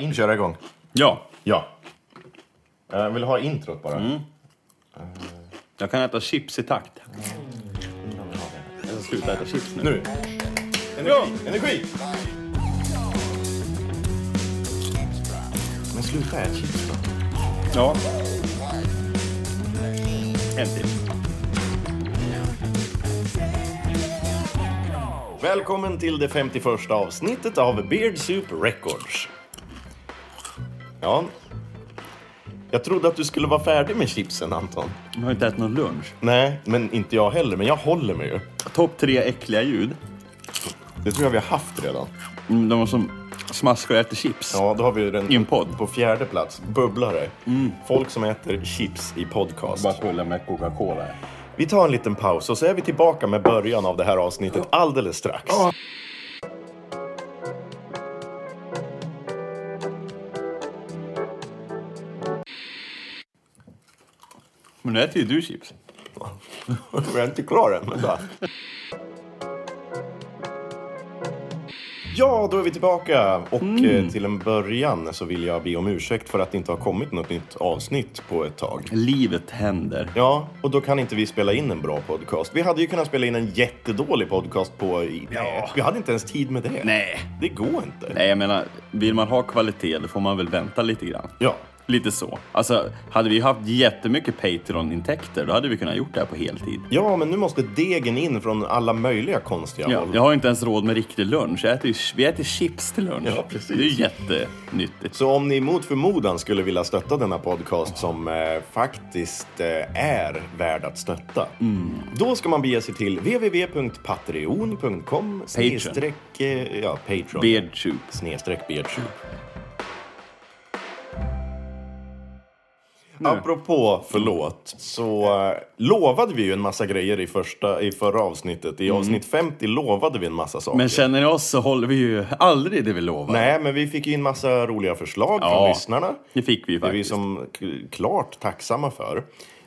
In, köra igång. Ja, Ja. Jag vill ha introt bara. jag kan äta chips i takt. Jag ska sluta äta chips nu. Nu. Energi. Energi! Men sluta ät chips då. Ja. En till. Välkommen till det 51 avsnittet av Beard Soup Records. Ja. Jag trodde att du skulle vara färdig med chipsen, Anton. Jag har inte ätit någon lunch. Nej, men inte jag heller. Men jag håller mig ju. Topp tre äckliga ljud. Det tror jag vi har haft redan. Mm, De var som smaskar och äter chips. Ja, då har vi ju den I en podd. Mm. på fjärde plats. Bubblare. Folk som äter chips i podcast. kolla med Coca-Cola. Vi tar en liten paus och så är vi tillbaka med början av det här avsnittet alldeles strax. Men nu äter ju du chips. Jag är inte klar än. Vänta. Ja, då är vi tillbaka. Och Mm. eh, till en början så vill jag be om ursäkt för att det inte har kommit något nytt avsnitt på ett tag. Livet händer. Ja, och då kan inte vi spela in en bra podcast. Vi hade ju kunnat spela in en jättedålig podcast på... i- Nej, vi hade inte ens tid med det. Nej. Det går inte. Nej, jag menar, vill man ha kvalitet då får man väl vänta lite grann. Ja, Lite så. Alltså, hade vi haft jättemycket Patreon-intäkter då hade vi kunnat gjort det här på heltid. Ja, men nu måste degen in från alla möjliga konstiga Ja, håll. jag har inte ens råd med riktig lunch. Jag äter, ju- vi äter chips till lunch. Ja, precis. Det är ju jättenyttigt. Så om ni mot förmodan skulle vilja stötta denna podcast som eh, faktiskt eh, är värd att stötta. Mm. Då ska man bege sig till www.patreon.com snedstreck, eh, ja, Patreon. Beard soup. snedstreck beardsoup. Apropå förlåt, så eh, lovade vi ju en massa grejer i, första, i förra avsnittet. I avsnitt 50 lovade vi en massa saker. Mm. Men känner ni oss så håller vi ju aldrig det vi lovar. Nej, men vi fick ju in massa roliga förslag Ja. från lyssnarna. Det fick vi ju Det är vi faktiskt. som k- klart tacksamma för.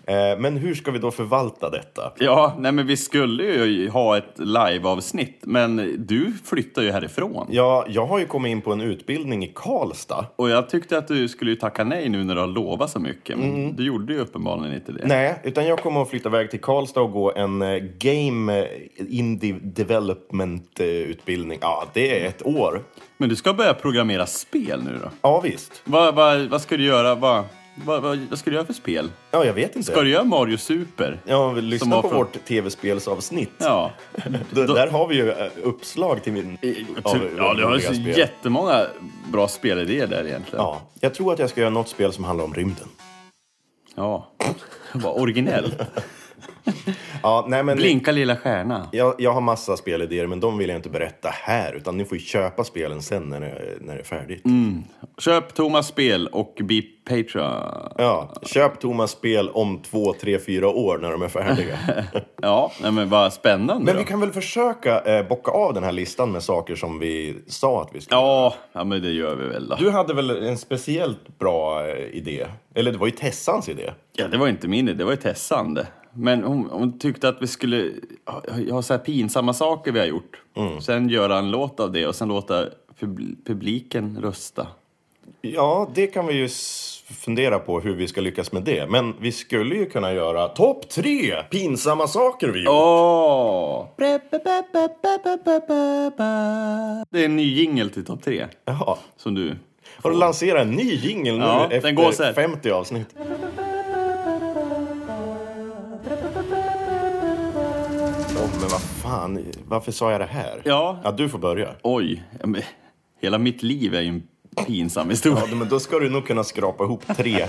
Eh, Men hur ska vi då förvalta detta? Ja, nej men vi skulle ju ha ett live-avsnitt, men du flyttar ju härifrån. Ja, jag har ju kommit in på en utbildning i Karlstad. Och jag tyckte att du skulle ju tacka nej nu när du har lovat så mycket, men du gjorde ju uppenbarligen inte det. Mm. Nej, utan jag kommer att flytta iväg till Karlstad och gå en eh, Game eh, Indie Development-utbildning. Ja, det är ett år. Men du ska börja programmera spel nu då? Ja, visst. Vad, vad, vad ska du göra? Vad, vad, vad, vad ska du göra för spel? Ja, jag vet inte. Ska du göra Mario Super? Ja, Som lyssna var på från- vårt tv-spelsavsnitt. Ja. D- Där har vi ju eh, uppslag till min... typ- Ja, av det har ju roliga så spel. jättemånga bra spelidéer där egentligen. Ja, jag tror att jag ska göra något spel som handlar om rymden. ja. Vad originellt. Ja, nej men... Blinka lilla stjärna. Jag, jag har massa spelidéer, men de vill jag inte berätta här. Utan ni får ju köpa spelen sen när det, när det är färdigt. Köp Thomas spel och bli Patreon. Ja, köp Thomas spel om två, tre, fyra år när de är färdiga. Ja, nej, men vad spännande men då. vi kan väl försöka eh, bocka av den här listan med saker som vi sa att vi skulle. Ja, ja, men det gör vi väl då. Du hade väl en speciellt bra eh, idé? Eller det var ju Tessans idé. Ja, det var inte min idé, det var ju Tessande. Men hon, hon tyckte att vi skulle ha, ha så här pinsamma saker vi har gjort. Mm. Sen göra en låt av det och sen låta pub- publiken rösta. Ja, det kan vi ju s- fundera på hur vi ska lyckas med det. Men vi skulle ju kunna göra topp tre pinsamma saker vi gjort. Åh! Det är en ny jingel till topp tre Ja. som du... Har du lanserat en ny jingel nu Ja, den efter går så här. 50 avsnitt? Åh, men vad fan, varför sa jag det här? Ja. ja du får börja. Oj, ja, men hela mitt liv är ju en pinsam Ja, historia. men då ska du nog kunna skrapa ihop tre.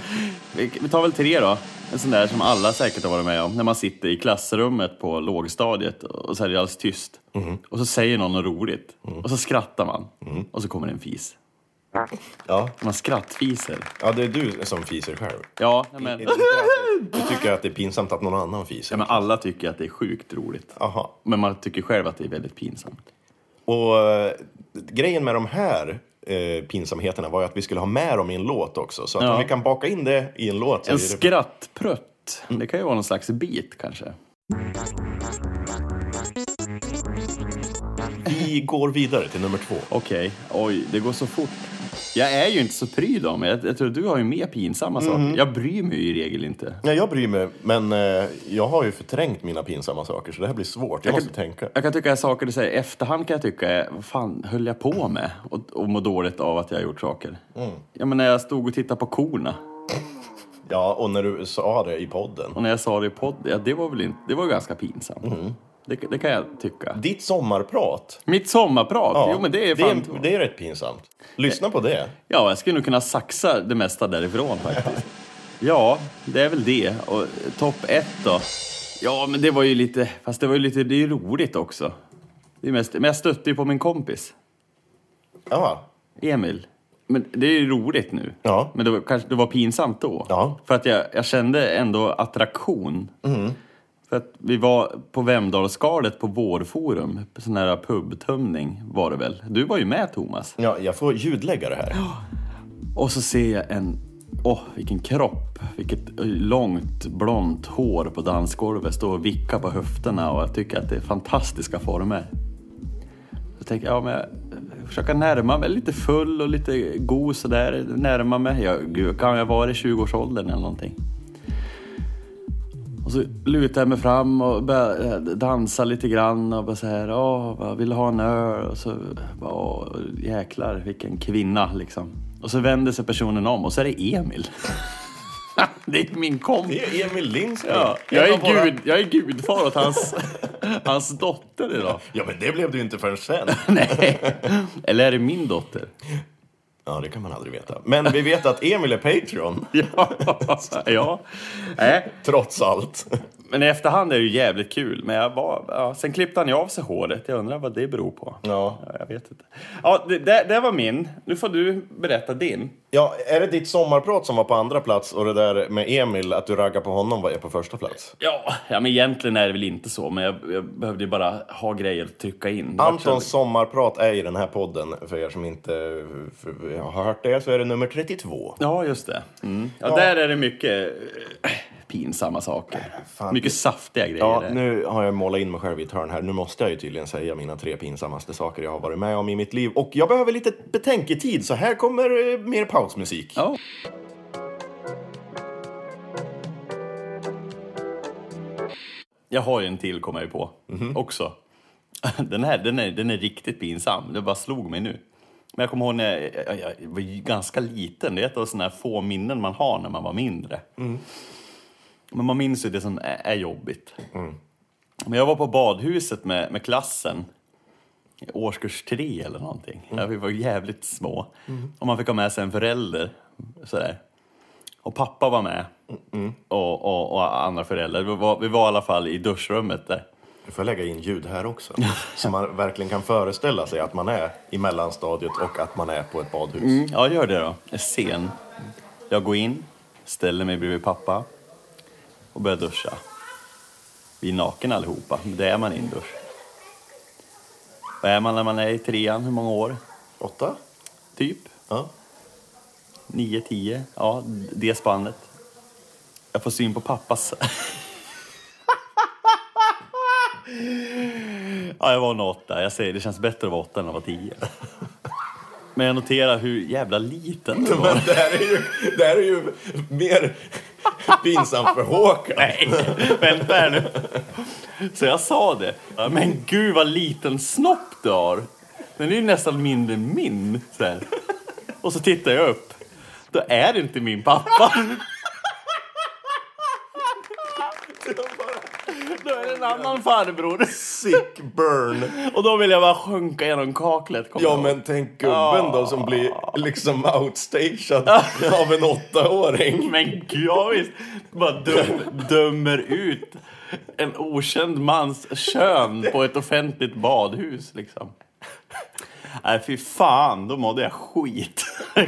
Vi vi tar väl tre då. En sån där som alla säkert har varit med om. När man sitter i klassrummet på lågstadiet och så är det alldeles tyst. Mhm. Och så säger någon något roligt. Och så skrattar man. Och så kommer det en fis. Ja. Man skrattfiser. ja, det är du som fiser själv. Ja, nej, men... Är det inte att Du tycker att det är pinsamt att någon annan ja, fiser? men alla tycker att det är sjukt roligt. Jaha. Men man tycker själv att det är väldigt pinsamt. Och eh, grejen med de här eh, pinsamheterna var ju att vi skulle ha med dem i en låt också. Så att Ja. om vi kan baka in det i en låt så En är det Mm. skrattprutt. Det kan ju vara någon slags bit kanske. Vi går vidare till nummer två. Okej, oj, det går så fort. Jag är ju inte så pryd om mig. Jag, jag tror du har ju mer pinsamma Mhm. saker. Jag bryr mig ju i regel inte. Ja, jag bryr mig, men eh, jag har ju förträngt mina pinsamma saker så det här blir svårt. Jag, Jag måste kan- tänka. Jag kan tycka att saker du säger i efterhand kan jag tycka är, vad fan höll jag på med? Och, och må dåligt av att jag har gjort saker. Mm. Ja, men när jag stod och tittade på korna Ja, och när du sa det i podden. och när jag sa det i podd, ja, det var väl inte, det var ganska pinsamt. Mm. Det, det kan jag tycka. Ditt sommarprat. Mitt sommarprat, Ja, jo men det är det, fan... är, det är rätt pinsamt. Lyssna på det. Ja, jag skulle nog kunna saxa det mesta därifrån faktiskt. ja, det är väl det. Och eh, topp ett då? Ja, men det var ju lite... Fast det var ju lite... Det är ju roligt också. Det är mest, men jag stötte ju på min kompis. Ja, Emil. Men det är ju roligt nu. Ja. Men det var, kanske, det var pinsamt då. Ja. Mm. För att jag, jag kände ändå attraktion. För att vi var på Vemdalsskalet på Vårforum. på Sån här pubtömning var det väl. Du var ju med Thomas. ja, jag får ljudlägga det här. Och så ser jag en... Åh, vilken kropp! Vilket långt blont hår på dansgolvet. Står och vickar på höfterna och jag tycker att det är fantastiska former. Så tänker jag, ja, men jag försöker närma mig. Lite full och lite god sådär. Närma mig. Jag, gud, kan jag vara i 20-årsåldern eller någonting? Och så lutar jag mig fram och börjar eh, dansa lite grann och bara så här, åh, vad vill du ha en öl? Och så bara, åh, jäklar vilken kvinna liksom. Och så vänder sig personen om och så är det Emil. det är min kompis. Det är Emil Lindskog. Ja, jag, En av är våra- gud, jag är gudfar åt hans, hans dotter idag. Ja, men det blev du inte förrän sen. Nej, eller är det min dotter? Ja, det kan man aldrig veta. Men vi vet att Emil är Patreon, Ja, ja. Nej, trots allt. men i efterhand är det ju jävligt kul. Men jag var, ja, sen klippte han ju av sig håret. Jag undrar vad det beror på. Ja. Ja, jag vet inte. Ja, det, det, det var min. Nu får du berätta din. ja, är det ditt sommarprat som var på andra plats och det där med Emil, att du raggar på honom, var är på första plats? Ja, ja men egentligen är det väl inte så, men jag, jag behövde ju bara ha grejer att trycka in. Det var så- Antons sommarprat är i den här podden, för er som inte eh, har hört det, så är det nummer 32. Ja, just det. Mm. Ja, där är det mycket eh, pinsamma saker. fan. mycket saftiga grejer. Ja, där. nu har jag målat in mig själv i ett hörn här. Nu måste jag ju tydligen säga mina tre pinsammaste saker jag har varit med om i mitt liv. Och jag behöver lite betänketid, så här kommer eh, mer pausmusik. Ja. Jag har ju en till, kommer jag ju på, också. Den här den är, den är riktigt pinsam. Det bara slog mig nu. Men jag kommer ihåg när jag, jag, jag, var ju ganska liten. Det är ett av sådana här få minnen man har när man var mindre. Men man minns ju det som är, är jobbigt. Men jag var på badhuset med, med klassen i årskurs tre eller någonting. Ja, vi var jävligt små. Och man fick ha med sig en förälder. Sådär. Och pappa var med. Och, och, och andra föräldrar. Vi var, vi var i alla fall i duschrummet där. Nu får jag lägga in ljud här också. Så man verkligen kan föreställa sig att man är i mellanstadiet och att man är på ett badhus. Ja, gör det då. Jag är sen. Jag går in, ställer mig bredvid pappa och börjar duscha. Vi är naken allihopa, men det är man i en dusch. Vad är man när man är i trean? Hur många år? Åtta? Typ. Ja. 9, 10, ja, det spannet. Jag får syn på pappas... ja, jag var en åtta. Jag säger, det känns bättre att vara åtta än att vara tio. Men jag noterar hur jävla liten den var. Men det här är ju, det här är ju mer pinsamt för Håkan. Nej, vänta här nu. Så jag sa det. Ja, Men gud vad liten snopp du har. Den är ju nästan mindre än min. Så här. Och så tittar jag upp. Då är det inte min pappa. Då är det en annan farbror. Sick burn! Och då vill jag bara sjunka genom kaklet. kommer Ja jag ihåg. men tänk gubben då som blir liksom outstagead av en åttaåring. Men gud, ja, visst. Bara döm, dömer ut en okänd mans kön på ett offentligt badhus liksom. Nej, fy fan, då mådde jag skit.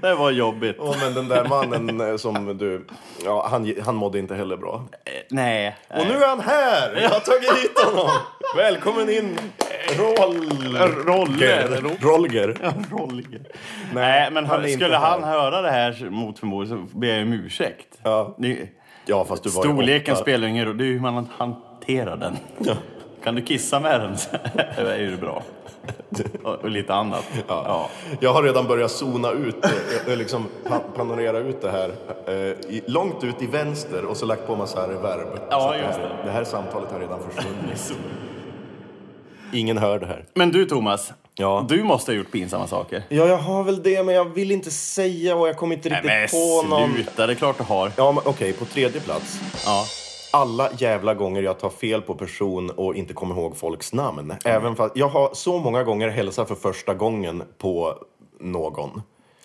Det var jobbigt. Ja, men den där mannen eh, som du... Ja, han, han mådde inte heller bra. Nej. Och nu är han här! Jag har tagit hit honom! Välkommen in, Roll... Roller. Rolger. Roller. Nej, men han är inte skulle han här. höra det här mot förmodan så ber jag om ursäkt. Ja. Det, Ja, fast du var ju storleken åtta. spelar ingen roll, det är ju hur man hanterar den. Kan du kissa med den så är det bra. och, och lite annat. Ja. Jag har redan börjat zona ut, eh, eh, liksom pa- panorera ut det här. eh, i- Långt ut i vänster och så lagt på massa reverb. Ja, Så att just Mm. här- Det här samtalet har redan försvunnit. Ingen hör det här. Men du Thomas, Ja. du måste ha gjort pinsamma saker. Ja, jag har väl det, men jag vill inte säga och jag kommer inte riktigt Nej, på någon. men sluta, det är klart du har. Ja, men okej, på tredje plats. Ja. Alla jävla gånger jag tar fel på person och inte kommer ihåg folks Mm. namn. Även fast jag har så många gånger hälsat för första gången på någon.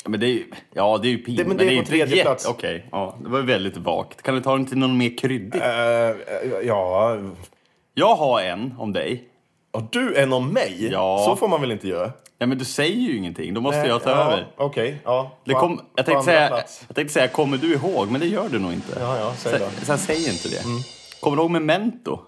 Men det är ju, ja, det är ju pinsamt. Det- men det är på inte tredje jätte- plats. Okej, ja, det var ju väldigt vagt. Kan du ta den till någon mer kryddig? Eh, ja, Jag har en om dig. har du en om mig? Ja. Så får man väl inte göra? Eh, Ja, men du säger ju ingenting, då måste jag ta ja, över. Okej, ja. Det På kom, an- jag, på tänkte andra säga, plats. jag tänkte säga, kommer du ihåg? Men det gör du nog inte. Ja, ja, säg då. Mm. Så, så jag säger inte det. Kommer du ihåg Memento?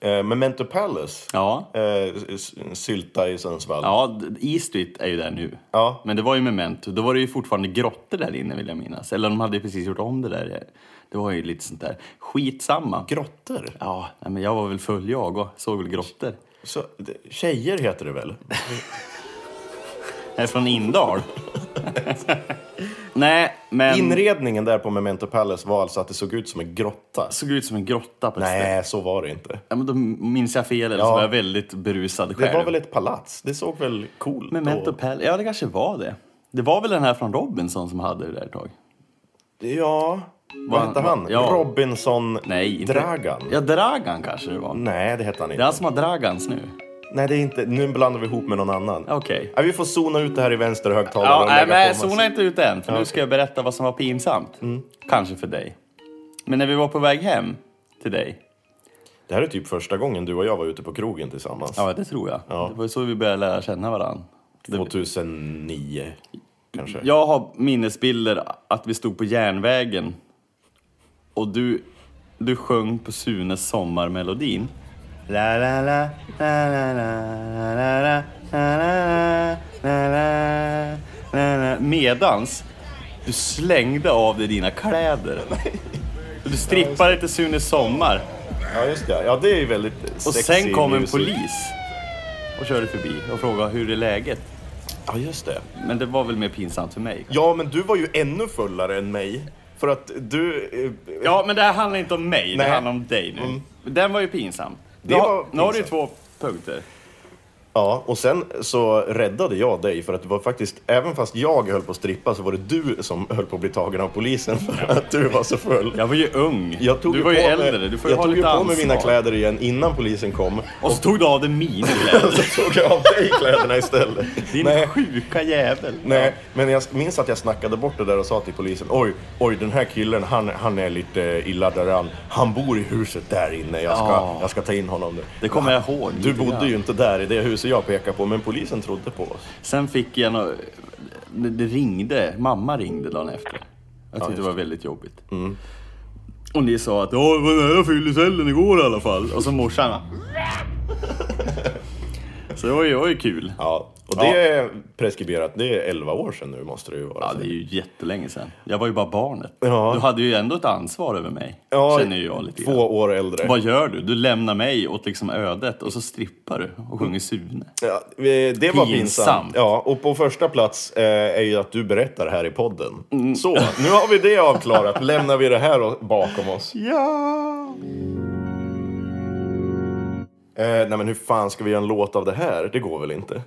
Eh, Memento Palace. Ja. Eh, s- Sylta i Sundsvall. Ja, d- E Street är ju där nu. Ja. Men det var ju Memento. Då var det ju fortfarande grottor där inne vill jag minnas. Eller de hade ju precis gjort om det där. Det var ju lite sånt där. Skitsamma. Grottor? Ja, nej, men jag var väl full jag och såg väl grottor. Så, det- tjejer heter det väl? Jag är från Indal. nej, men... Inredningen där på Memento Palace var alltså att det såg ut som en grotta. såg ut som en grotta på ett ställe. Nej, så var det inte. Ja, men då minns jag fel eller så Ja. var jag väldigt berusad själv. Det var väl ett palats? Det såg väl coolt Memento och... Pal- Ja, det kanske var det. Det var väl den här från Robinson som hade det där ett tag? Ja, Va- vad hette han? ja. Robinson Nej, inte... Dragan? Ja, Dragan kanske det var. Nej, det hette han Det inte. är han som har Dragans nu. Nej, det är inte. Nu blandar vi ihop med någon annan. Okej. Ja, vi får zona ut det här i vänster högtalare Ja, och lägga nej, men på en massa- zona inte ut än, för nu ska jag berätta vad som var pinsamt. Kanske för dig. Men när vi var på väg hem till dig. Det här är typ första gången du och jag var ute på krogen tillsammans. Ja, det tror jag. Det var ju så vi började lära känna varandra. 2009, kanske. Jag har minnesbilder att vi stod på järnvägen och du, du sjöng på Sunes sommarmelodin. La, la, la, la, la, la, la, la, la, la, la, la, la, la. Medans du slängde av dig dina kläder. Du strippade till Sunes sommar Ja, just det. Ja, det är ju väldigt och sexy sen kom en music. polis och körde förbi och frågade hur är läget? Ja, just det. Men det var väl mer pinsamt för mig. Ja, men du var ju ännu fullare än mig. För att du... eh, Ja, men det här handlar inte om mig, Nej. Mm. det handlar om dig nu. Den var ju pinsam. Det nu, var har- nu har du ju pinsam. två punkter. Ja, och sen så räddade jag dig för att det var faktiskt, även fast jag höll på att strippa så var det du som höll på att bli tagen av polisen för att du var så full. Jag var ju ung. Jag tog du var ju på mig- äldre, du får ju jag ha tog ju lite på ansvar. mig mina kläder igen innan polisen kom. Och så tog du av dig mina kläder. Och så tog jag av dig kläderna istället. Din Nej, sjuka jävel. nej, men jag minns att jag snackade bort det där och sa till polisen Oj, oj den här killen han, han är lite illa däran. Han bor i huset där inne. Jag ska, Ja. jag ska ta in honom nu. Det kommer jag ihåg. Du lite bodde grann. ju inte där i det huset jag pekade på, men polisen trodde på oss. Sen fick jag nå... Det det ringde, mamma ringde dagen efter. Jag tyckte just Mm. det var väldigt jobbigt. Och ni sa att ja, det var nära fyllecellen igår i alla fall. Och så morsan va? Så det var ju, det var ju kul. Ja, och Ja. det är preskriberat. Det är 11 år sedan nu måste det ju vara. Ja, det är ju jättelänge sedan. Jag var ju bara barnet. Ja. Du hade ju ändå ett ansvar över mig, Ja, känner ju jag lite grann. Alltså, Två år äldre. Vad gör du? Du lämnar mig åt liksom ödet och så strippar du och sjunger Sune. Ja, eh, det var pinsamt. Pinsamt. Ja, och på första plats eh, är ju att du berättar här i podden. Mm. Så, nu har vi det avklarat. Lämnar vi det här o- bakom oss. Ja! Eh, nej men hur fan ska vi göra en låt av det här? Det går väl inte?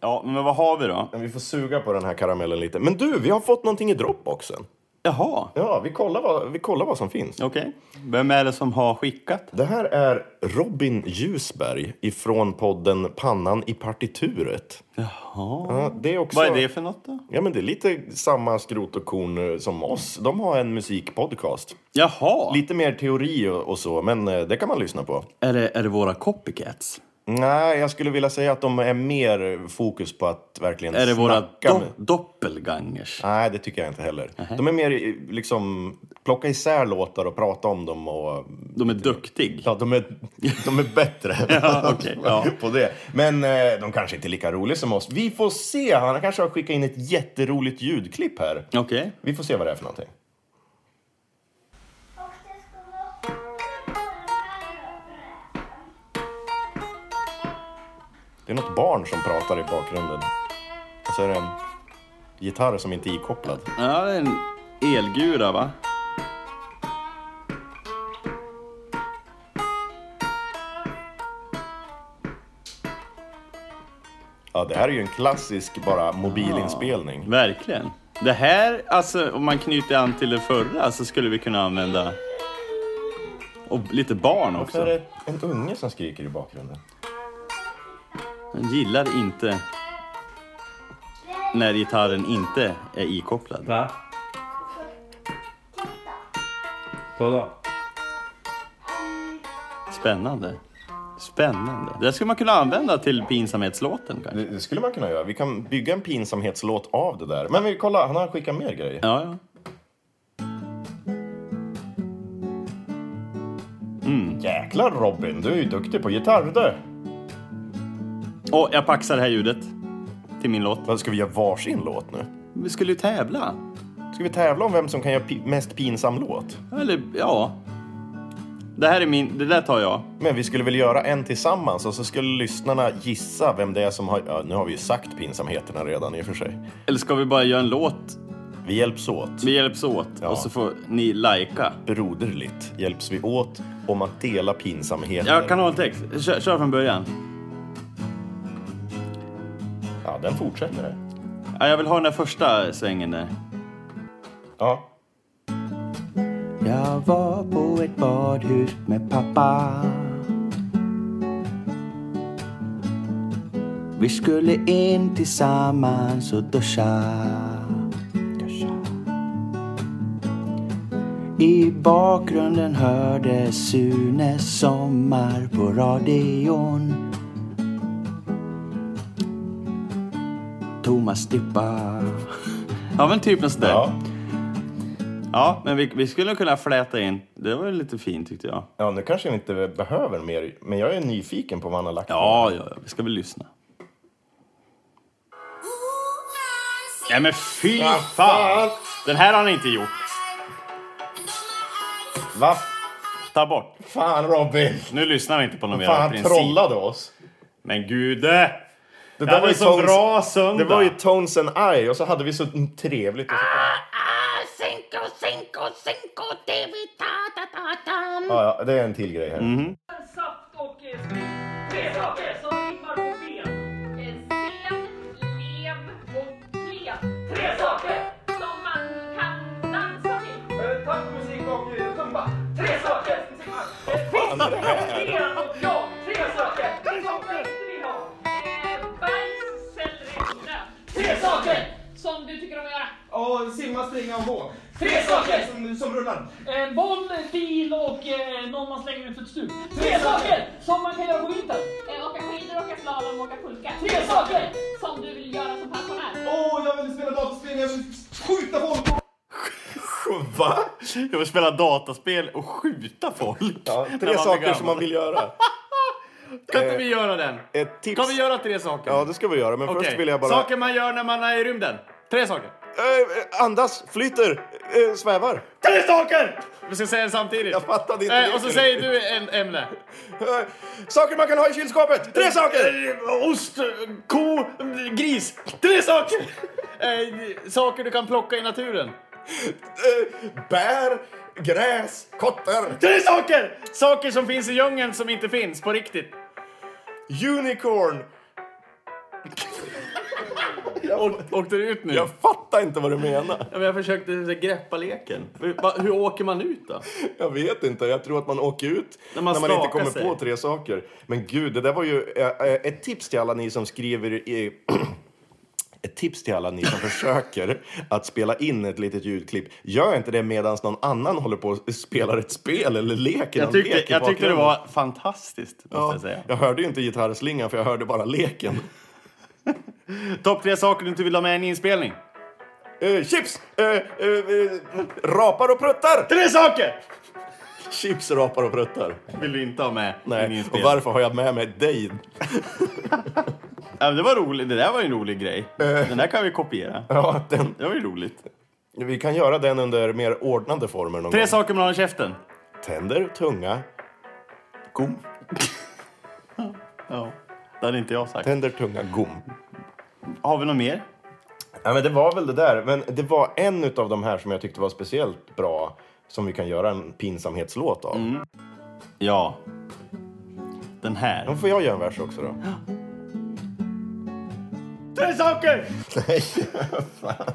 Ja, men vad har vi då? Men vi får suga på den här karamellen lite. Men du, vi har fått någonting i Dropboxen. Jaha, Ja, vi kollar vad, vi kollar vad som finns. okej. Vem är det som har skickat? Det här är Robin Ljusberg ifrån podden Pannan i partituret. Jaha. Ja, det är också... Vad är det för något då? Ja, men det är lite samma skrot och korn eh, som oss. De har en musikpodcast. Jaha! Lite mer teori och och så, men eh, det kan man lyssna på. Är det, är det våra copycats? Nej, jag skulle vilja säga att de är mer fokus på att verkligen Är det våra snacka do- med- doppelgangers? Nej, det tycker jag inte heller. De är mer eh, liksom, plocka isär låtar och prata om dem och... De är duktiga. Ja, de är, de är bättre Ja, okej, ja. på det. Men eh, de kanske inte är lika roliga som oss. Vi får se, han kanske har skickat in ett jätteroligt ljudklipp här. Okej. Vi får se vad det är för någonting. Och det skulle hålla i över Det Det är något barn som pratar i bakgrunden. Och så är det en gitarr som inte är ikopplad. Ja, det är en elgura va? Ja, det här är ju en klassisk bara mobilinspelning. Verkligen. Det här, alltså om man knyter an till det förra så skulle vi kunna använda... Och lite barn Varför är också. det en unge som skriker i bakgrunden? Jag gillar inte när gitarren inte är ikopplad. Va? Kolla. Spännande. Spännande. Det skulle man kunna använda till pinsamhetslåten kanske. Det, det skulle man kunna göra. Vi kan bygga en pinsamhetslåt av det där. Men vi kolla, han har skickat mer grejer. Ja, ja. Jäklar Robin, du är ju duktig på gitarr du. Åh, jag paxar det här ljudet till min låt. Vad, Ska vi göra varsin låt nu? Vi skulle ju tävla. Ska vi tävla om vem som kan göra pi- mest pinsam låt? Eller, ja. Det här är min, det där tar jag. Men vi skulle väl göra en tillsammans och så skulle lyssnarna gissa vem det är som har... Ja, nu har vi ju sagt pinsamheterna redan i och för sig. Eller ska vi bara göra en låt? Vi hjälps åt. Vi hjälps åt Ja. och så får ni likea. Broderligt hjälps vi åt om att dela pinsamheter. Jag kan ha en text. Kör, kör från början. Ja, den fortsätter det. Ja, jag vill ha den där första svängen där. Ja. Jag var på ett badhus med pappa Vi skulle in tillsammans och duscha I bakgrunden hörde Sunes sommar på radion Thomas Dippa Ja men typ något sånt där. Ja. Ja, men vi, vi skulle kunna fläta in. Det var ju lite fint tyckte jag. ja, nu kanske jag inte behöver mer, men jag är nyfiken på vad han har lagt Ja, ja, ja. Vi ska väl lyssna. Nej men fy fan! Den här har ni inte gjort. Vad Ta bort. fan Robin! Nu lyssnar vi inte på någon mer Fan, han princip. trollade oss. Men gude! Det Det här var ju så Tones- bra söndag. Det var ju Tones and I och så hade vi så trevligt. Och så... Ah, cinco, cinco, cinco, David, ta, ta, ta, ta. ja, ja, det är en till grej här. Saft och eh, sprit. Tre saker som eh, rimmar på ben. Sen, lev och klev Tre saker! som man kan dansa till. Eh, Tacomusik och eh, rumba. Tre saker! Fan, det här. Ben och jag. Tre saker! Som du inte vill ha. Eh, Bajs, selleri, röv. Tre saker! Som du tycker om att göra. Och simma, springa och gå. Tre saker! Som, som rullar. Eh, boll, bil och eh, någon man slänger ut för ett stup. Tre saker som man kan göra på vintern. Eh, Åka skidor, åka slalom, åka pulka. Tre saker! Som du vill göra som pensionär. Åh, jag vill spela dataspel, jag vill skjuta folk. Va? Jag vill spela dataspel och skjuta folk. Ja, tre När blir saker gammal. som man vill göra. Kan inte vi göra den? Ett tips. Kan vi göra tre saker? Ja, det ska vi göra, men Okej. först vill jag bara... Saker man gör när man är i rymden. Tre saker. Eh, eh, andas, flyter, eh, svävar. Tre saker! Vi ska säga det samtidigt. Jag fattade inte Eh, och så riktigt. säger du en ämne. Eh, saker man kan ha i kylskåpet. Tre saker! Eh, Ost, ko, gris. Tre saker! Eh, saker du kan plocka i naturen. Eh, bär, gräs, kottar, Tre saker! Saker som finns i djungeln som inte finns på riktigt. unicorn. Åk- Åkte du ut nu? Jag fattar inte vad du menar. Ja, men jag försökte eh, greppa leken. Hur, va, hur åker man ut då? Jag vet inte. Jag tror att man åker ut När man inte skakar kommer sig. på tre saker. Men gud, det där var ju eh, eh, ett tips till alla ni som skriver i... Ett tips till alla ni som försöker att spela in ett litet ljudklipp. Gör inte det medan någon annan håller på och spelar ett spel eller leker Jag någon tyckte, lek i jag tyckte det bakgrunden. var fantastiskt, måste Ja, jag säga. jag hörde ju inte gitarrslingan för jag hörde bara leken. Topp tre saker du inte vill ha med i en inspelning. Eh, chips! Eh, eh, eh, rapar och pruttar! Tre saker! Chips, rapar och pruttar. Vill du inte ha med i en Nej, och inspelning. varför har jag med mig dig? Ja, men det var roligt. Det där var ju en rolig grej. Den där kan vi kopiera. Ja, den, Det var ju roligt. vi kan göra den under mer ordnade former någon Tre gång. saker man har i käften. Tänder, tunga, gom. Ja. Det hade inte jag sagt. Tänder, tunga, gom. Har vi något mer? Ja, men det var väl det där. Men det var en av de här som jag tyckte var speciellt bra som vi kan göra en pinsamhetslåt av. Ja. Den Då här. får jag göra en vers också då. Tre saker! Nej, fan.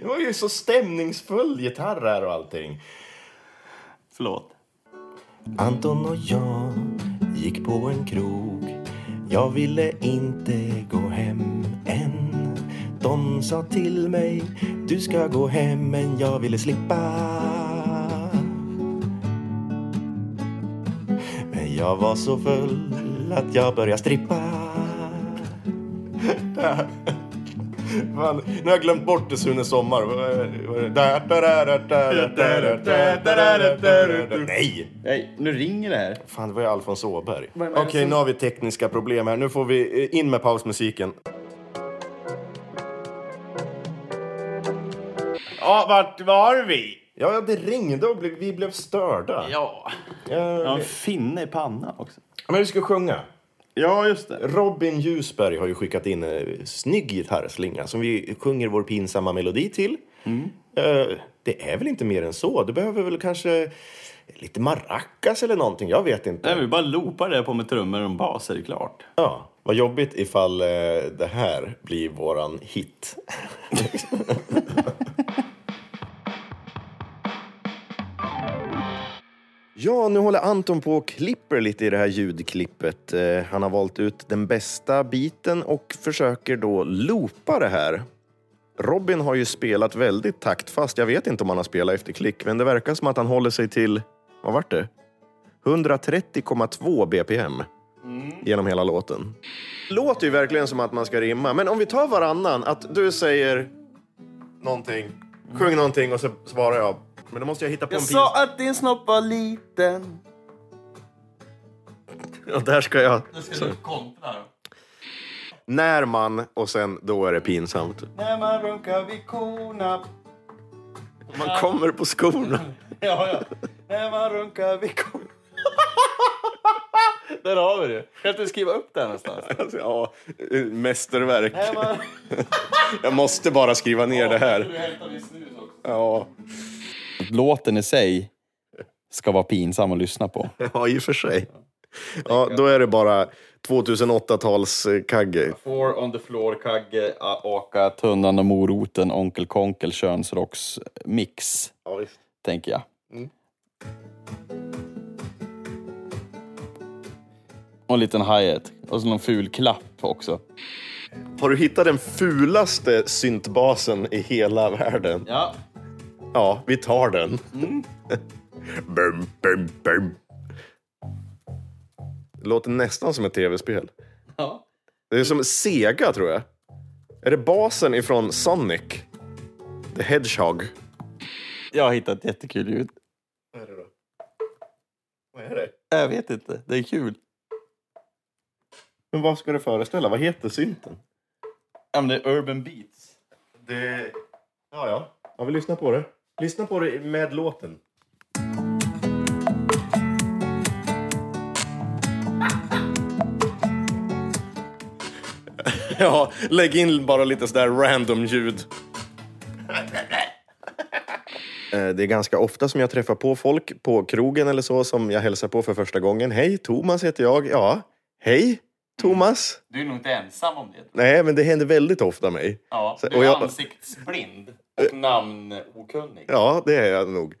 Det var ju så stämningsfull gitarr här och allting. Förlåt. Anton och jag gick på en krog Jag ville inte gå hem än De sa till mig Du ska gå hem men jag ville slippa Men jag var så full att jag började strippa Fan, nu har jag glömt bort det Sune Sommar. Vad är- vad är det? Nej! Nej, nu ringer det här. Fan, det var ju Alfons Åberg. Vad är det Okej, som- nu har vi tekniska problem här. Nu får vi eh, in med pausmusiken. Ja, vart var vi? Ja, ja, det ringde och blev- vi blev störda. Ja. Jag har Ja. en finne i pannan också. Men vi ska sjunga. Ja, just det. Robin Ljusberg har ju skickat in en snygg gitarrslinga som vi sjunger vår pinsamma melodi till. Mm. Eh, Det är väl inte mer än så. Du behöver väl kanske lite maracas eller någonting. Jag vet inte. Nej, vi bara loopar det på med trummor och bas är det klart. Ja, vad jobbigt ifall eh, det här blir våran hit. Ja, nu håller Anton på och klipper lite i det här ljudklippet. Eh, Han har valt ut den bästa biten och försöker då loopa det här. Robin har ju spelat väldigt taktfast. Jag vet inte om han har spelat efter klick, men det verkar som att han håller sig till, vad vart det? 130,2 BPM genom hela låten. Låter ju verkligen som att man ska rimma, men om vi tar varannan, att du säger någonting, sjung någonting och så svarar jag. Men då måste jag hitta på en pins- att din snopp var liten. Och där ska jag... Ska du kontra då? När man och sen då är det pinsamt. När man runkar vid korna. Man kommer på skorna. Ja, ja. När man runkar vid korna. Där har vi det. Kan inte skriva upp det här någonstans? Alltså, ja, eh, mästerverk. När man... Jag måste bara skriva ner det här. Ja, Låten i sig ska vara pinsam att lyssna på. ja i och för sig. Ja, då är det bara 2008-tals eh, kagge. Four on the floor, Kagge, A- Aka, Tunnan och moroten, Onkel Konkel, könsrocks, mix, Ja, visst. tänker jag. Mm. Och en liten hi-hat. Och så någon ful klapp också. Har du hittat den fulaste syntbasen i hela världen? Ja. Ja, vi tar den. bum, bum, bum. Det låter nästan som ett tv-spel. ja. Det är som Sega, tror jag. Är det basen ifrån Sonic? The Hedgehog? Jag har hittat ett jättekul ljud. Vad är det då? Vad är det? Jag vet inte, det är kul. Men vad ska det föreställa? Vad heter synten? Ja, men det är Urban Beats. Det... Ja, ja. Ja, vi lyssnar på det. Lyssna på det med låten. ja, lägg in bara lite sådär random ljud. Eh, Det är ganska ofta som jag träffar på folk på krogen eller så som jag hälsar på för första gången. Hej, Thomas heter jag. Ja, hej, Thomas. Du är nog inte ensam om det. Nej, men det händer väldigt ofta mig. Ja, Så- och jag- ansiktsblind och namnokunnig. Ja, det är jag nog.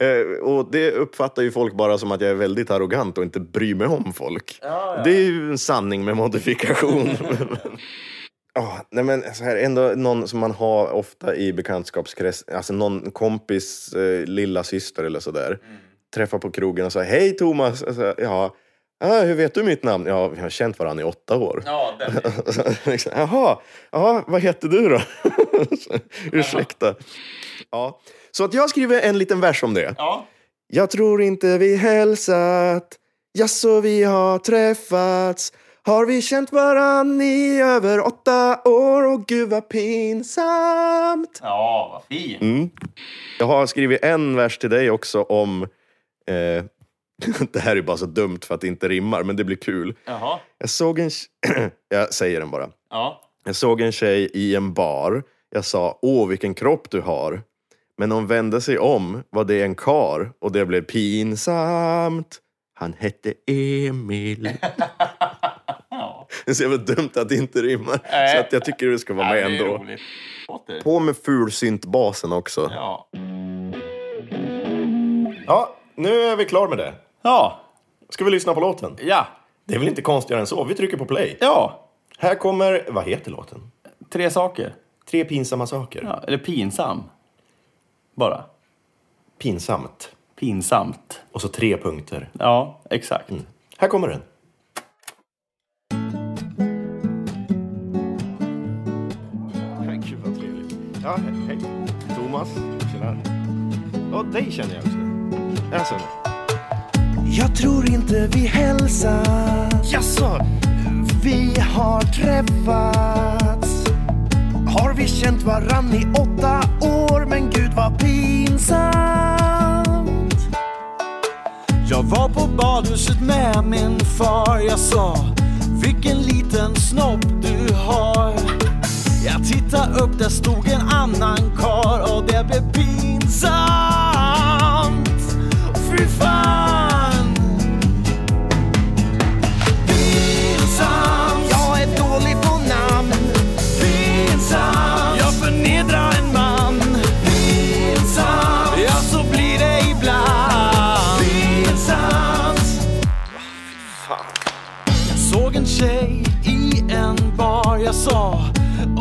Eh, och det uppfattar ju folk bara som att jag är väldigt arrogant och inte bryr mig om folk. Ja, ja. Det är ju en sanning med modifikation. Ja, nej men så här, ändå någon som man har ofta i bekantskapskrets, alltså någon kompis eh, lilla syster eller sådär. Mm. Träffar på krogen och säger hej Thomas. Alltså, ja, ah, hur vet du mitt namn? Ja, vi har känt varandra i åtta år. Ja, den är... liksom, Jaha, ja, vad heter du då? Ursäkta. Ja. Så att jag skriver en liten vers om det. Ja. Jag tror inte vi hälsat, ja så vi har träffats. Har vi känt varann i över åtta år och gud vad pinsamt. Ja, vad fin. Jag har skrivit en vers till dig också om eh, Det här är bara så dumt för att det inte rimmar, men det blir kul. Jaha. Jag såg en... Jag säger den bara. Ja. Jag såg en tjej i en bar. Jag sa åh vilken kropp du har. Men hon vände sig om var det en kar och det blev pinsamt. Han hette Emil. Det är så jävla dumt att det inte rimmar. Så att jag tycker det ska vara med Ja, det är ändå. roligt. Låter. På med fulsyntbasen också. Ja. Ja, nu är vi klar med det. Ja. Ska vi lyssna på låten? Ja. Det är väl inte konstigare än så. Vi trycker på play. Ja. Här kommer, vad heter låten? Tre saker. Tre pinsamma saker. Ja. Eller pinsam. Bara. Pinsamt. Pinsamt. Och så tre punkter. Ja, exakt. Här kommer den. Gud vad trevligt. Ja, he- hej. Thomas. Tjena. Och dig känner jag också. Jag ser det. Jag tror inte vi hälsas. Jaså? Vi har träffats. Har vi känt varann i åtta år? Men gud vad pinsamt. Jag var på badhuset med min far. Jag sa, vilken liten snopp du har. Jag tittade upp, där stod en annan kar och det blev pinsamt. Fy fan! Pinsam. Jag är dålig på namn. Pinsam. Jag förnedrar en man. Pinsam. Ja, så blir det ibland. Pinsamt. Jag såg en tjej i en bar. Jag sa,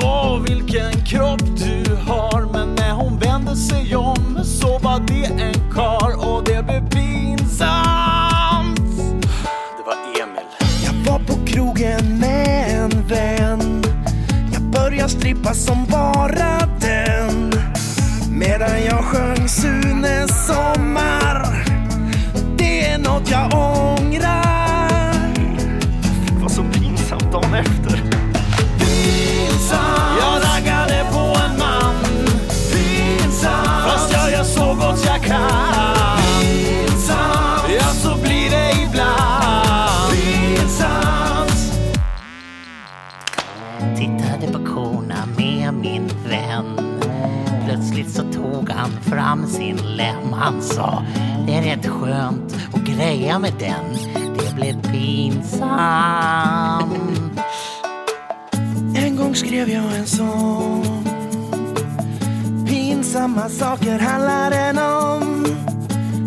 åh vilken kropp du har. Men när hon vände sig om så var det en kar och det blev pinsamt. Det var Emil. Jag var på krogen med en vän. Jag började strippa som bara den. Medan jag sjöng Sunes sommar. Det är något jag ångrar. Det var så pinsamt dagen efter. Pinsam. Jag raggade på en man. Pinsam. Fast jag gör så gott jag kan. Pinsam. Ja, så blir det ibland. Pinsamt. Tittade på korna med min vän. Plötsligt så tog han fram sin lem. Han sa, det är rätt skönt att greja med den. Det blev pinsamt. En gång skrev jag en sång. Pinsamma saker handlar den om.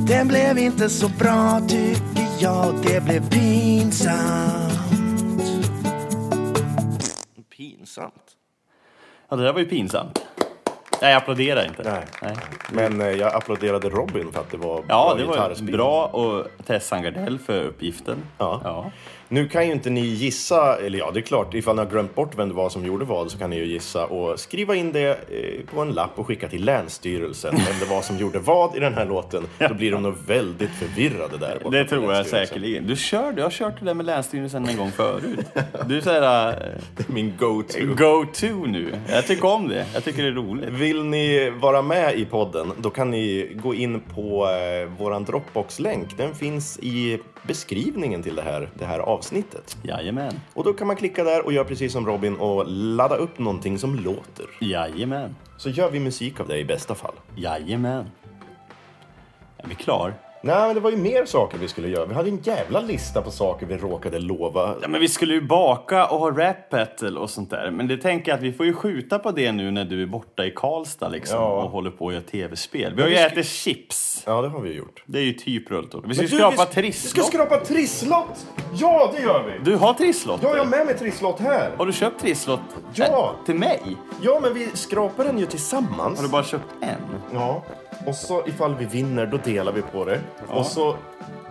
Den blev inte så bra tycker jag. Det blev pinsamt. Pinsamt. Ja, det där var ju pinsamt. Nej, jag applåderar inte. Nej. Men eh, jag applåderade Robin för att det var Ja, det var ju gitarrspel. bra och Tessan Gardell för uppgiften. Ja. ja. Nu kan ju inte ni gissa, eller ja det är klart, ifall ni har glömt bort vem det var som gjorde vad så kan ni ju gissa och skriva in det eh, på en lapp och skicka till Länsstyrelsen vem det var som gjorde vad i den här låten. Då blir de nog väldigt förvirrade där borta Det på tror jag Länsstyrelsen. säkerligen. Du kör, du har kört det där med Länsstyrelsen en gång förut. Du är såhär, Min go-to. go-to nu. Jag tycker om det. Jag tycker det är roligt. Vill ni vara med i podden, då kan ni gå in på eh, våran Dropbox-länk. Den finns i beskrivningen till det här, det här avsnittet. Jajamän. Och då kan man klicka där och göra precis som Robin och ladda upp någonting som låter. Jajamän. Så gör vi musik av det i bästa fall. Jajamän. Är vi klar? Nej, men det var ju mer saker vi skulle göra. Vi hade en jävla lista på saker vi råkade lova. Ja, men vi skulle ju baka och ha rap battle och sånt där. Men det tänker jag att vi får ju skjuta på det nu när du är borta i Karlstad liksom, Ja. och håller på att göra tv-spel. Vi har ju ätit chips. Ja, det har vi ju gjort. Det är ju typ rulltårta. Vi ska ju Du, skrapa vi- Vi ska trisslott. skrapa trisslott! Ja, det gör vi! Du har trisslotter? Ja, jag har med mig trisslott här. Har du köpt trisslott? Ja. Äh, Till mig? Ja, men vi skrapar den ju tillsammans. Har du bara köpt en? Ja, och så ifall vi vinner, då delar vi på det. Och så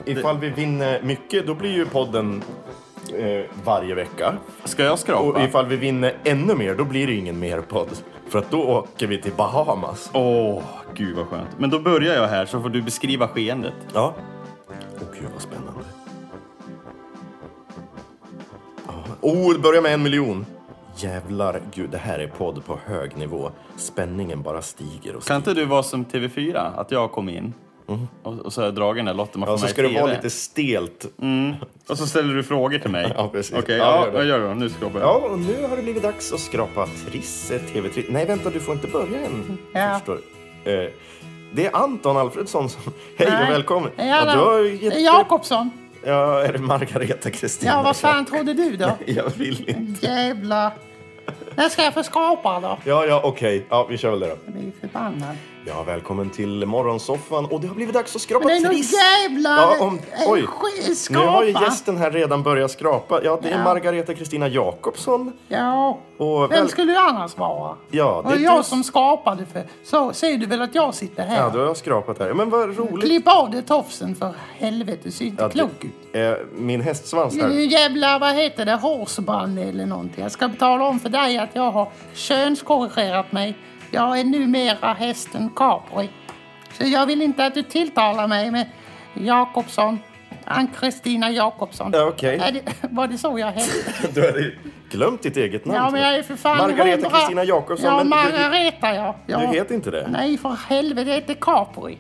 ifall vi vinner mycket, då blir ju podden eh, varje vecka. Ska jag Och skrapa? ifall vi vinner ännu mer, då blir det ju ingen mer podd. För att då åker vi till Bahamas. Åh, gud vad skönt. Men då börjar jag här så får du beskriva skeendet. Ja. Åh gud vad spännande. Ja. Oh, det börjar med en miljon. Jävlar, gud, det här är podd på hög nivå. Spänningen bara stiger och Kan inte du vara som TV4? Att jag kom in Och, och så har jag dragit den där lotten man Mm. får Ja, så med i ska det TV. vara lite stelt. Mm. Och så ställer du frågor till mig. Ja, precis. Okej, Ja, ja, gör det. vad gör du då? Nu ska jag börja. Ja, och nu har det blivit dags att skrapa Trisse TV3. Nej, vänta, du får inte börja än. Ja. Förstår. Eh, det är Anton Alfredsson som... Hej och välkommen. Ja, du har ju gett- Jakobsson. Ja, är det Margareta Kristina? Ja, vad fan trodde du då? Jag vill inte. Jävla... När ska jag få skapa då? Ja, ja, okej. Ja, vi kör väl det då. Jag blir förbannad. Ja, välkommen till morgonsoffan. Och det har blivit dags att skrapa Men det är nog Triss. jävla... Ja, om, oj. sk- Nu har ju Skapa. gästen här redan börjat skrapa. Ja, det är Ja. Margareta Kristina Jakobsson. Ja. Och Vem väl... skulle du annars vara? Ja, det det är är jag du- som skapade för... Så ser du väl att jag sitter här? Ja, du har skrapat här. Ja, Men vad roligt. Klipp av dig tofsen för helvete, du ser inte Ja, det- klok ut. Eh, min hästsvans Det är där. ju jävla, vad heter det, hårsband eller någonting. Jag ska tala om för dig att jag har könskorrigerat mig. Jag är numera hästen Capri. Så jag vill inte att du tilltalar mig med Jakobsson. Ann-Kristina Jakobsson. Ja, okej. Är det- Var det så jag hette? Du har ju glömt ditt eget namn. Ja, men jag är för fan Margareta hundra- Kristina Jakobsson. Ja, men Margareta ja. ja. du, du heter inte det? Nej, för helvete, jag heter Capri.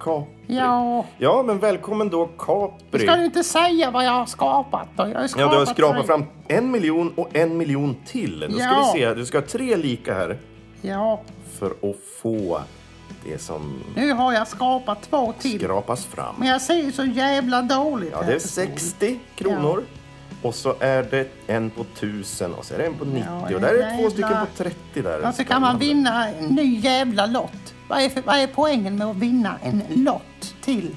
Capri. Ja. Ja, men välkommen då Capri. Ska du inte säga vad jag har skapat då? Jag har Ja, skapat du har skrapat mig. fram en miljon och en miljon till. Nu ska Ja. vi se. Du ska ha tre lika här Ja, för att få det som nu har jag skapat två till. skrapas fram. Men jag ser ju så jävla dåligt Ja, här det är på skolan. 60 kronor. Och så är det en på 1000 och så är det en på 90 Ja, och där är det två jävlar. stycken på 30 där. Ja, så Alltså, kan man vinna en ny jävla lott. Vad är, för, vad är poängen med att vinna en lott till?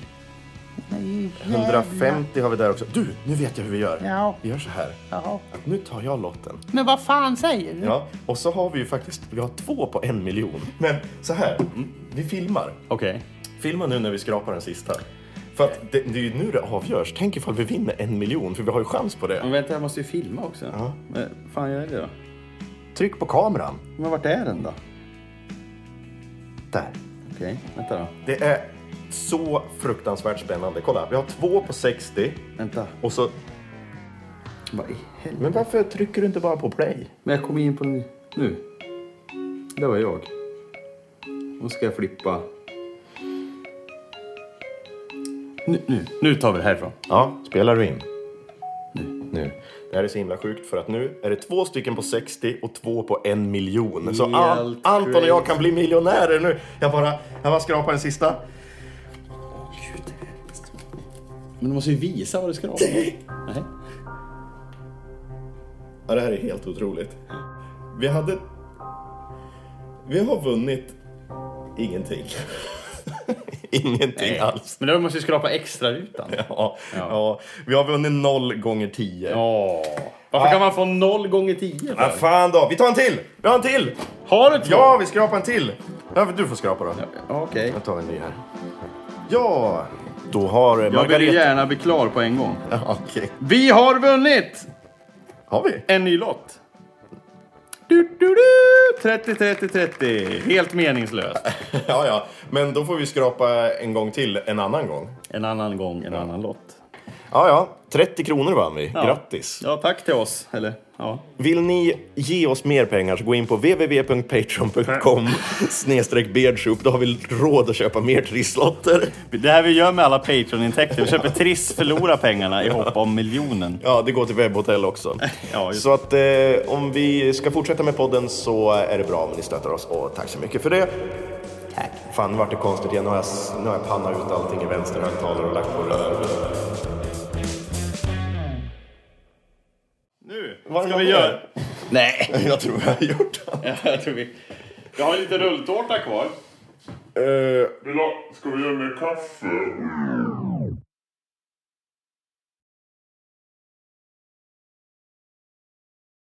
Det är ju jävla- 150 har vi där också. Du, nu vet jag hur vi gör. Ja. Vi gör så här. Ja. Att nu tar jag lotten. Men vad fan säger du? Ja, och så har vi ju faktiskt, vi har två på en miljon. Men så här, mm, vi filmar. Okej. Filma nu när vi skrapar den sista. För att det, det är ju nu det avgörs. Tänk ifall vi vinner en miljon, för vi har ju chans på Men Mm. det. vänta, jag måste ju filma också. Ja. Men fan gör jag det då? Tryck på kameran. Men vart är den då? Där. Okej, vänta då. Det är så fruktansvärt spännande. Kolla, vi har två på 60 Vänta. och så... Vad i helvete? Men varför trycker du inte bara på play? Men jag kommer in på den nu. Det var jag. Nu ska jag flippa. Nu, nu. nu tar vi det härifrån. Ja, spelar du in? Nu. nu. Det här är så himla sjukt för att nu är det två stycken på 60 och två på en miljon. Så An- Helt Anton och jag crazy. kan bli miljonärer nu. Jag bara, jag bara skrapar den sista. Men du måste ju visa vad du ska ha. Nej. Ja, det här är helt otroligt. Vi hade... Vi har vunnit ingenting. ingenting alls. Men då måste ju skrapa extra rutan. Ja. Ja, ja. vi har vunnit noll gånger tio. Varför kan man få 0 gånger 10? Vad fan då, vi tar en till! Vi har en till! Har du två? Ja, vi skrapar en till! Ja, du får skrapa då. Okej. Jag tar en ny här. Ja! Då har eh, Jag vill Margareta... gärna bli klar på en gång. Ja, Okej. Vi har vunnit Har vi? en ny lott. Du, du, du. 30, 30, 30. Helt meningslöst. Ja, ja. Men då får vi skrapa en gång till en annan gång. En annan gång, en annan lott. Ja, ja. 30 kronor vann vi. Ja. Grattis! Ja, tack till oss. Eller, ja. Vill ni ge oss mer pengar så gå in på www.patreon.com snedstreck beardsoup. Då har vi råd att köpa mer trisslotter. Det här vi gör med alla Patreon-intäkter. Vi köper Triss förlora pengarna i hopp om miljonen. Ja, det går till webbhotell också. Ja, just så att eh, om vi ska fortsätta med podden så är det bra om ni stöttar oss och tack så mycket för det. Tack. Fan, vart det konstigt igen. Nu har jag, s- nu har jag pannat ut allting i vänster högtalare och lagt på rör. Nu Vad ska vi göra... Nej. Jag tror jag har gjort det. Ja, jag tror vi... Jag har lite rulltårta kvar. Eh, Ska vi göra mer kaffe?